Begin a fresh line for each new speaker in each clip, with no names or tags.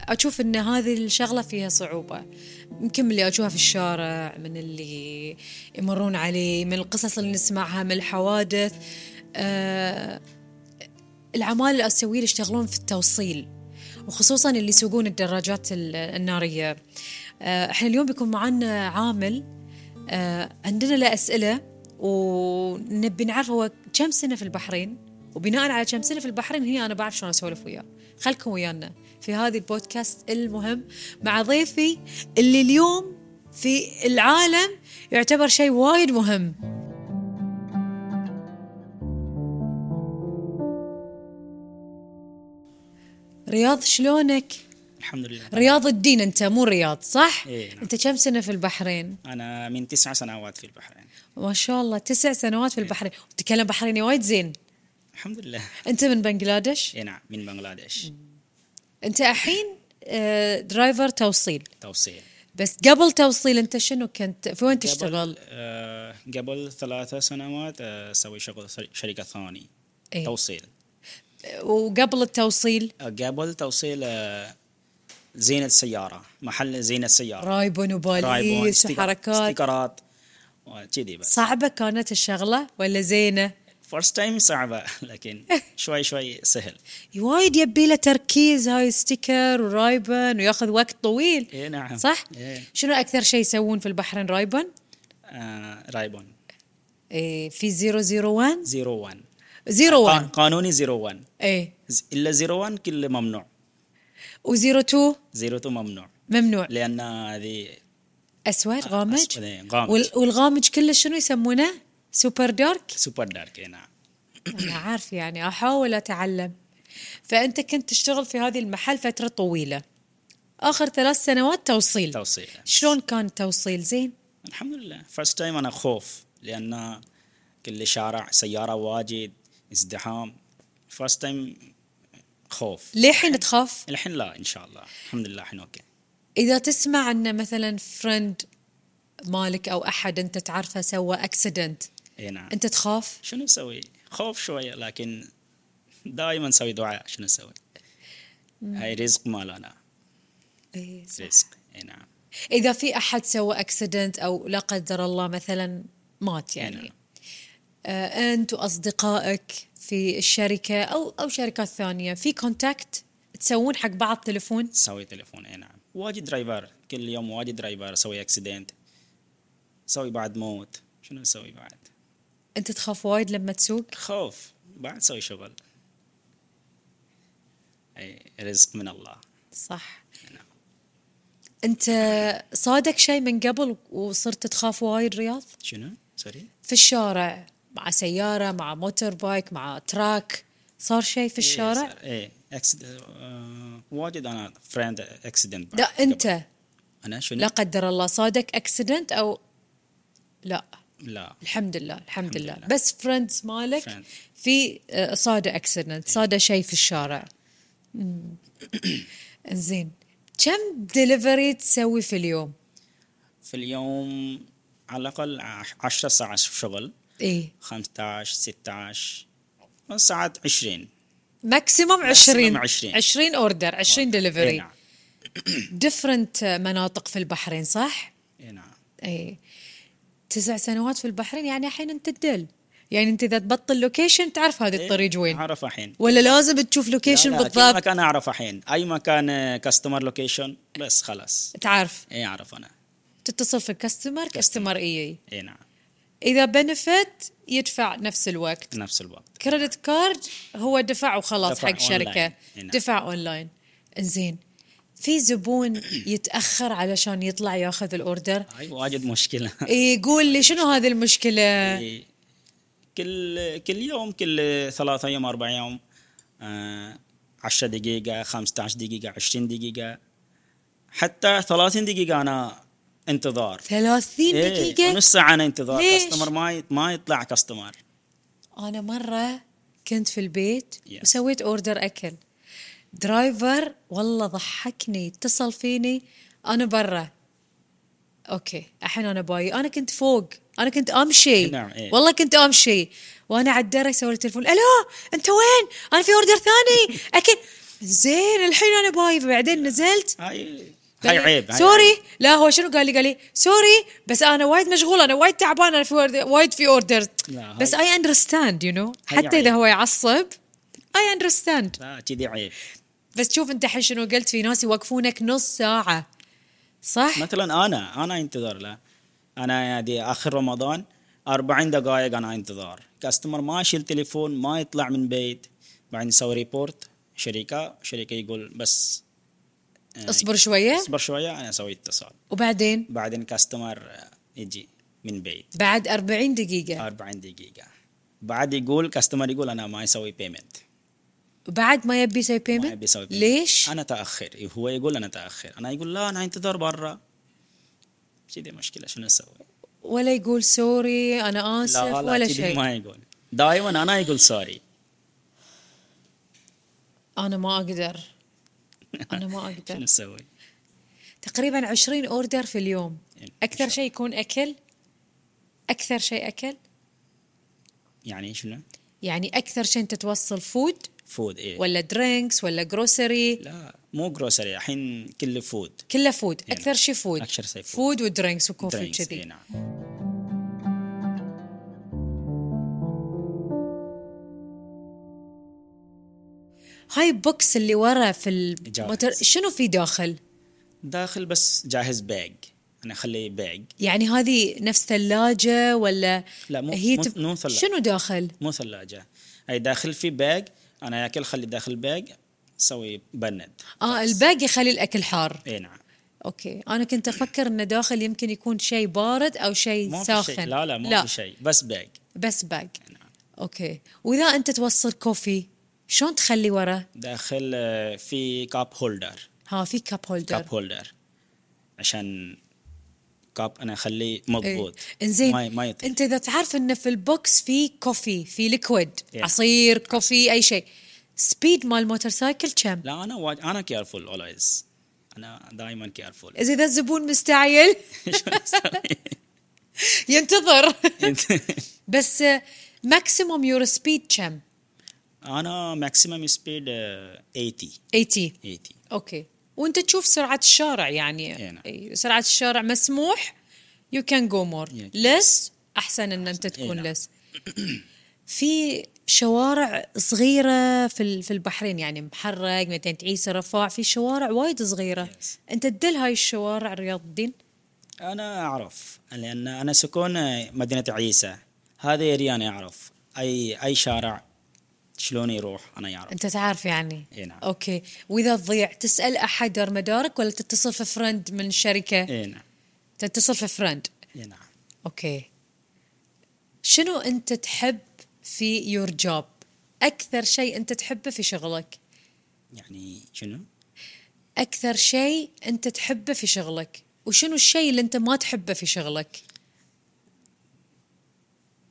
أشوف إن هذه الشغلة فيها صعوبة يمكن من اللي أشوفها في الشارع من اللي يمرون عليه من القصص اللي نسمعها من الحوادث آه العمال الآسيويين يشتغلون في التوصيل وخصوصا اللي يسوقون الدراجات ال- النارية آه احنا اليوم بيكون معنا عامل آه عندنا له أسئلة ونبي نعرف هو كم سنة في البحرين وبناء على كم سنة في البحرين هي أنا بعرف شلون أسولف وياه خلكم ويانا في هذه البودكاست المهم مع ضيفي اللي اليوم في العالم يعتبر شيء وايد مهم رياض شلونك؟
الحمد لله
رياض الدين انت مو رياض صح؟
إيه، نعم.
انت كم سنة في البحرين؟
أنا من تسع سنوات في البحرين
ما شاء الله تسع سنوات
إيه.
في البحرين وتتكلم بحريني وايد زين
الحمد لله
انت من بنغلاديش
إيه نعم من بنغلاديش
انت الحين آه، درايفر توصيل
توصيل
بس قبل توصيل انت شنو كنت في وين تشتغل
قبل, آه قبل ثلاثة سنوات آه، أسوي شغل ش- شركة ثاني
إيه.
توصيل
وقبل التوصيل
آه، قبل توصيل آه، زينة سيارة محل زينة سيارة
رايبون
رايبون،
وباليس
ستيكر-
وحركات
ستيكرات وكذي بس
صعبة كانت الشغلة ولا زينة
فيرست تايم صعبة لكن شوي شوي سهل
وايد يبي له تركيز هاي ستيكر ورايبن وياخذ وقت طويل
إيه نعم
صح؟
إيه.
شنو اكثر شيء يسوون في البحرين رايبن؟
آه رايبون
إيه في 001
زيرو وان طيب.
01
قانوني زيرو وان
اي
ز- إلا زيرو وان كله ممنوع
و02
زيرو تو ممنوع
ممنوع
لان هذه
اسود غامج
أسود، إيه، غامج.
وال- والغامج كله شنو يسمونه؟ سوبر دارك؟
سوبر دارك إيه نعم
انا عارف يعني احاول اتعلم فانت كنت تشتغل في هذه المحل فتره طويله اخر ثلاث سنوات توصيل
توصيل
شلون كان التوصيل زين
الحمد لله فاست تايم انا خوف لان كل شارع سياره واجد ازدحام فاست تايم خوف
للحين تخاف
الحين لا ان شاء الله الحمد لله الحين اوكي
اذا تسمع ان مثلا فرند مالك او احد انت تعرفه سوى اكسيدنت
اي نعم
انت تخاف
شنو نسوي؟ خوف شويه لكن دائما نسوي دعاء شنو نسوي؟ هاي رزق مالنا
إيه، صح.
رزق اي نعم
اذا في احد سوى اكسيدنت او لا قدر الله مثلا مات
نعم.
يعني آه، انت واصدقائك في الشركه او او شركات ثانيه في كونتاكت تسوون حق بعض تلفون
سوي تليفون اي نعم واجد درايفر كل يوم واجد درايفر سوي اكسيدنت سوي بعد موت شنو نسوي بعد؟
انت تخاف وايد لما تسوق
خوف بعد سوي شغل اي رزق من الله
صح
نعم.
انت صادك شيء من قبل وصرت تخاف وايد رياض
شنو؟ سوري؟
في الشارع مع سياره مع موتور بايك مع تراك صار شيء
إيه،
في الشارع
اي اكسد آه، واجد انا فريند اكسيدنت
لا انت
انا شنو؟
لا قدر الله صادك اكسيدنت او لا
لا
الحمد لله الحمد لله
لله.
بس فريندز مالك
Friend.
في آه، صاده اكسيدنت صاده شيء في الشارع أمم. زين كم دليفري تسوي في اليوم
في اليوم على الاقل 10 ساعات شغل
ايه
15 16 ساعات 20
ماكسيموم 20
20.
20 اوردر 20
اي
دليفري
نعم
ديفرنت آه، مناطق في البحرين صح؟
اي نعم
اي تسع سنوات في البحرين يعني الحين انت تدل يعني انت اذا تبطل لوكيشن تعرف هذه الطريق وين
اعرف إيه؟ الحين
ولا لازم تشوف لوكيشن
اي
بالضبط
مكان اعرف الحين اي مكان كاستمر لوكيشن بس خلاص إيه،
تعرف
اي اعرف انا
تتصل في إيه، الكاستمر كاستمر اي
اي نعم
اذا بنفت يدفع نفس الوقت
نفس الوقت
كريدت كارد هو دفع وخلاص
دفع
حق شركة
أونلاين. إي نعم.
دفع اونلاين انزين في زبون يتاخر علشان يطلع ياخذ الاوردر
هاي واجد مشكله
يقول لي شنو هذه المشكلة؟
إي. كل كل يوم كل ثلاثة يوم أربع يوم آه، عشرة دقيقة خمسة عشر دقيقة عشرين دقيقة حتى ثلاثين دقيقة أنا انتظار
30
إيه،
دقيقة
نص ساعة أنا انتظار
ليش؟
كاستمر ما يط- ما يطلع كاستمر
أنا مرة كنت في البيت
Yes.
وسويت أوردر أكل درايفر والله ضحكني اتصل فيني أنا برا أوكي الحين أنا باي أنا كنت فوق أنا كنت أمشي
نعم، إيه.
والله كنت أمشي وأنا على الدرج سوى التليفون ألو أنت وين أنا في أوردر ثاني أكل زين الحين انا بايظ بعدين نزلت
هاي
يعني
هاي عيب هاي
سوري لا هو شنو قال لي قال لي سوري بس انا وايد مشغول انا وايد تعبان انا في ورد- وايد في اوردر
لا، هاي-
بس اي اندرستاند يو نو
هاي
حتى اذا
عيب.
هو يعصب اي اندرستاند
عيب. لا كذي عيب
بس شوف انت الحين شنو قلت في ناس يوقفونك نص ساعه صح
مثلا انا انا انتظار لا انا يعني اخر رمضان 40 دقائق انا انتظار كاستمر ما يشيل تليفون ما يطلع من بيت بعدين نسوي ريبورت شركه شركه يقول بس آه،
اصبر شويه
اصبر شويه انا اسوي اتصال
وبعدين
بعدين كاستمر آه، يجي من بيت
بعد 40 دقيقه
40 دقيقه بعد يقول كاستمر يقول انا ما اسوي بيمنت
وبعد ما يبي يسوي
ما
بيمنت
بيسوي بيمنت.
طيب. ليش
انا تاخر هو يقول انا تاخر انا يقول لا انا انتظار برا كذي مشكله شنو اسوي
ولا يقول سوري انا اسف
لا لا
ولا
كذي
شيء
ما يقول دائما انا يقول سوري
انا ما اقدر انا ما اقدر
شنو اسوي؟
تقريبا 20 اوردر في اليوم
يعني
اكثر شيء يكون اكل اكثر شيء اكل
يعني شنو؟
يعني اكثر شيء انت توصل فود
فود ايه
ولا درينكس ولا جروسري
لا مو جروسري الحين كله فود
كله فود
يعني
اكثر شيء فود
أكثر شيء food.
فود ودرينكس وكوفي
درينكس، إيه،
وكذي
نعم
هاي بوكس اللي ورا في الموتر
جاهز.
شنو في داخل
داخل بس جاهز باج انا اخليه باج
يعني هذه نفس ثلاجة ولا
لا، مو-
هي
مو-
تب-
مو ثلاجة.
شنو داخل
مو ثلاجه هي داخل في باج انا ياكل خلي داخل باج سوي بند
اه الباقي يخلي الاكل حار
اي نعم
اوكي انا كنت افكر انه داخل يمكن يكون شيء بارد او شيء
مو
ساخن
في شيء لا لا مو
لا
في شيء بس باج
بس باق
نعم.
اوكي واذا انت توصل كوفي شلون تخلي ورا
داخل آه، في كاب هولدر
ها في كاب هولدر
كاب هولدر عشان كاب انا اخليه مضبوط
إيه. انزين
ما ما يطلع
انت اذا تعرف انه في البوكس في كوفي في ليكويد
إيه.
عصير كوفي اي شيء سبيد مال موتور سايكل كم
لا انا واج... انا كيرفول اولويز انا دائما كيرفول
اذا إذا الزبون مستعجل ينتظر بس ماكسيموم يور سبيد كم
انا ماكسيمم سبيد 80
80
80
اوكي وانت تشوف سرعه الشارع يعني
إيه نعم.
إي، سرعه الشارع مسموح يو كان جو مور
Yeah.
لس احسن ان انت
إيه
تكون
نعم.
لس في شوارع صغيره في ال- في البحرين يعني محرق 200 تعيسه رفاع في شوارع وايد صغيره
Yes.
انت تدل هاي الشوارع رياض الدين
انا اعرف لان انا سكون مدينه عيسى هذا اريا انا اعرف اي اي شارع شلون يروح انا يعرف
انت تعرف يعني
إيه نعم.
اوكي واذا تضيع تسال احد دار مدارك ولا تتصل في فرند من شركه
اي نعم
تتصل في فرند
اي نعم
اوكي شنو انت تحب في يور جوب اكثر شيء انت تحبه في شغلك
يعني شنو؟
اكثر شيء انت تحبه في شغلك وشنو الشيء اللي انت ما تحبه في شغلك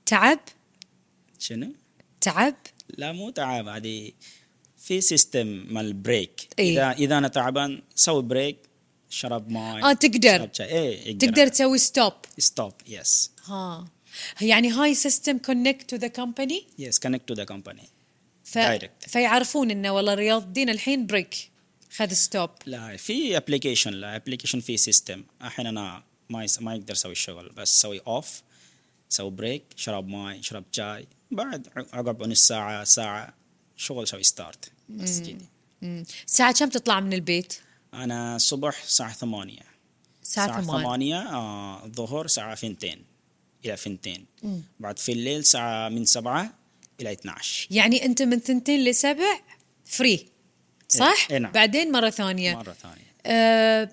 تعب
شنو؟
تعب
لا مو تعب هذه في سيستم مال بريك
إيه.
اذا اذا انا تعبان سوي بريك شرب ماي
اه تقدر
شرب شاي إيه، اي
تقدر تسوي ستوب
ستوب يس
ها يعني هاي سيستم كونكت تو ذا كمباني
يس كونكت تو ذا كومباني
ف...
Direct.
فيعرفون انه والله رياض الدين الحين بريك خذ ستوب
لا في ابلكيشن لا ابلكيشن في سيستم الحين انا ما يس... ما يقدر اسوي الشغل بس سوي اوف سوي بريك شرب ماي شرب شاي بعد ع- عقب نص ساعه ساعه شغل سوي ستارت بس كذي
الساعه كم تطلع من البيت
انا الصبح الساعه 8
الساعه 8
8 آه، الظهر ساعة فنتين إلى فنتين بعد في الليل ساعة من 7 إلى 12
يعني انت من ثنتين لسبع فري صح؟
إيه، إيه، نعم.
بعدين مره ثانيه
مرة ثانية
آه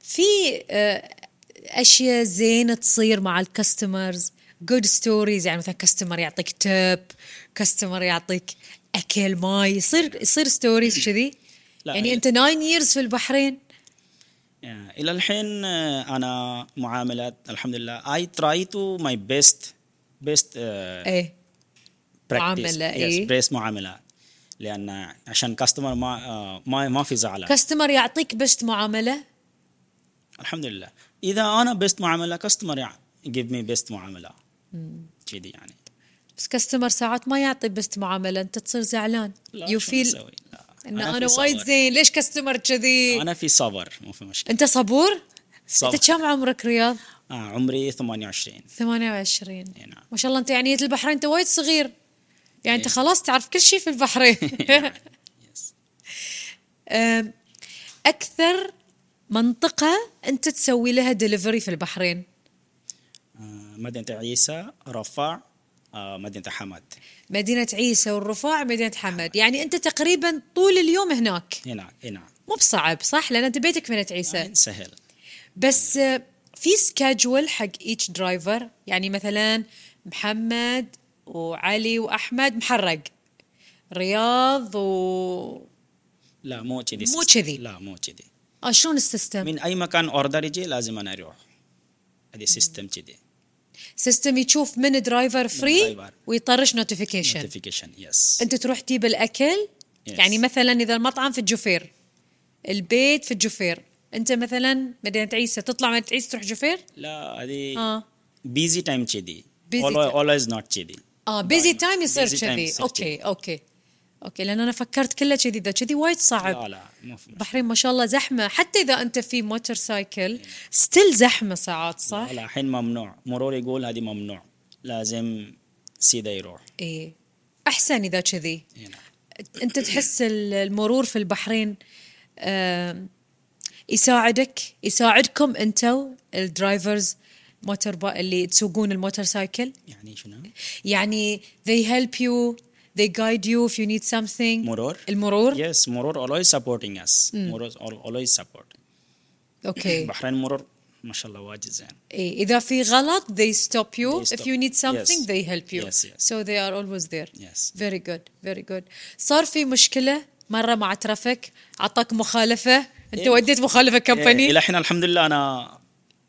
في آه اشياء زينه تصير مع الكاستمرز جود ستوريز يعني مثلا كاستمر يعطيك تب كاستمر يعطيك اكل ماي يصير يصير ستوريز كذي
لا، إيه.
يعني
هي-
انت 9 ييرز في البحرين
آه، إلى الحين آه، أنا معاملات الحمد لله I try to my best best آه،
ايه
practice.
معاملة،
Yes,
إيه.
best معاملات لأن عشان كاستمر ما آه، ما ما في زعلان
كاستمر يعطيك بشت معامله
الحمد لله إذا أنا بيست معاملة كاستمر give me best معاملة كذي يعني
بس كاستمر ساعات ما يعطي بشت معامله انت تصير زعلان
لا،
يو
شو
فيل
نسوي؟ لا.
ان
أنا في
انا
صبر.
وايد زين ليش كاستمر كذي
انا في صبر مو في مشكله
انت صبور
صبر
انت كم عمرك رياض
آه عمري 28
28
إي نعم.
ما شاء الله انت يعني جيت البحرين انت وايد صغير يعني انت خلاص تعرف كل شيء في البحرين
يس.
أم، اكثر منطقه انت تسوي لها دليفري في البحرين
آه مدينه عيسى رفع آه مدينه حمد
مدينه عيسى والرفاع مدينه حمد يعني انت تقريبا طول اليوم هناك
هنا هنا
مو بصعب صح لان انت بيتك مدينه عيسى
آه سهل
بس آه، في سكاجول حق ايتش درايفر يعني مثلا محمد وعلي واحمد محرق رياض و
لا مو كذي
مو كذي.
لا مو كذي
آه، شلون السيستم؟
من اي مكان اوردر يجي لازم انا اروح هذه سيستم كذي
سيستم يشوف من درايفر فري
درايفر.
ويطرش نوتيفيكيشن
نوتيفيكيشن يس
انت تروح تجيب الاكل
Yes.
يعني مثلا اذا المطعم في الجفير البيت في الجفير انت مثلا مدينه عيسى تطلع مدينه عيسى تروح جفير
لا هذه
اه
بيزي تايم كذي
Busy time.
اولويز نوت كذي
اه بيزي تايم يصير
Busy time
كذي
يصير
اوكي اوكي اوكي لان انا فكرت كله كذي اذا كذي وايد صعب
لا لا مو في مشكلة.
البحرين ما شاء الله زحمه حتى اذا انت في موتور سايكل ستيل زحمه ساعات صح؟
إيه. لا لا الحين ممنوع مرور يقول هذه ممنوع لازم سيدا يروح
اي احسن اذا إيه. كذي
هنا
انت تحس ال- المرور في البحرين آم، يساعدك يساعدكم انتو الدرايفرز موتر با اللي تسوقون الموتور سايكل
يعني شنو؟
يعني they help you they guide you if you need something
مرور
المرور
يس مرور اولويز سبورتنج اس مرور اولويز سبورت
اوكي
البحرين مرور ما شاء الله واجد زين
إيه، اذا في غلط they stop you
They
if
stop.
you need something
Yes.
they help you
Yes, yes.
so they are always there
يس
very good very good صار في مشكله مره مع ترافيك عطاك مخالفه انت
إيه.
وديت مخالفه كمباني
الى الحين الحمد لله انا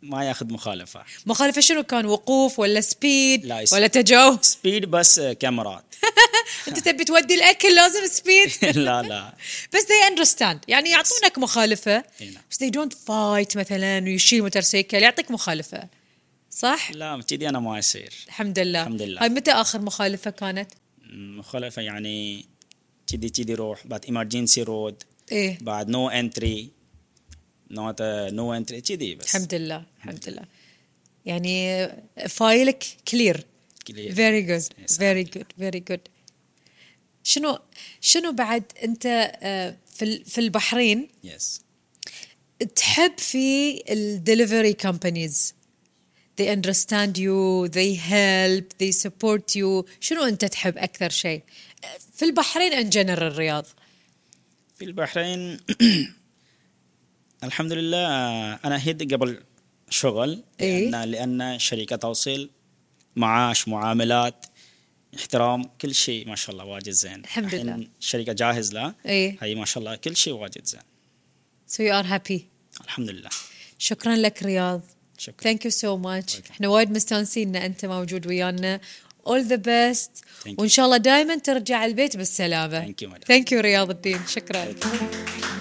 ما ياخذ مخالفه
مخالفه شنو كان وقوف ولا سبيد
لا،
ولا تجاوز
سبيد بس كاميرات
انت تبي تودي الاكل لازم سبيد
لا لا
بس they understand يعني يعطونك مخالفه
إي نعم.
بس they don't fight مثلا ويشيل موتورسيكل يعطيك مخالفه صح
لا كذي انا ما يصير
الحمد لله
الحمد لله.
هاي متى اخر مخالفه كانت
مخالفه يعني كذي كذي روح بعد ايمرجنسي رود
ايه
بعد نو انتري نوت نو انتري كذي بس
الحمد لله الحمد لله يعني فايلك كلير
Clear.
فيري جود
Yes.
فيري جود فيري جود شنو شنو بعد انت آه، في ال- في البحرين
يس
تحب في الدليفري كومبانيز they understand you they help they support you شنو انت تحب اكثر شيء آه، في البحرين ان جنرال الرياض
في البحرين الحمد لله انا هيد قبل شغل
إيه.
لان لان شركه توصيل معاش معاملات احترام كل شيء ما شاء الله واجد زين
الحمد
الحين
لله.
الشركه جاهز لها
إيه.
هي ما شاء الله كل شيء واجد زين
so you are happy
الحمد لله
شكرا لك رياض
شكرا
ثانك يو سو ماتش احنا وايد مستانسين ان انت موجود ويانا اول ذا بيست
you.
وان شاء الله دائما ترجع البيت بالسلامه
Thank you, madam.
ثانك يو رياض الدين شكرا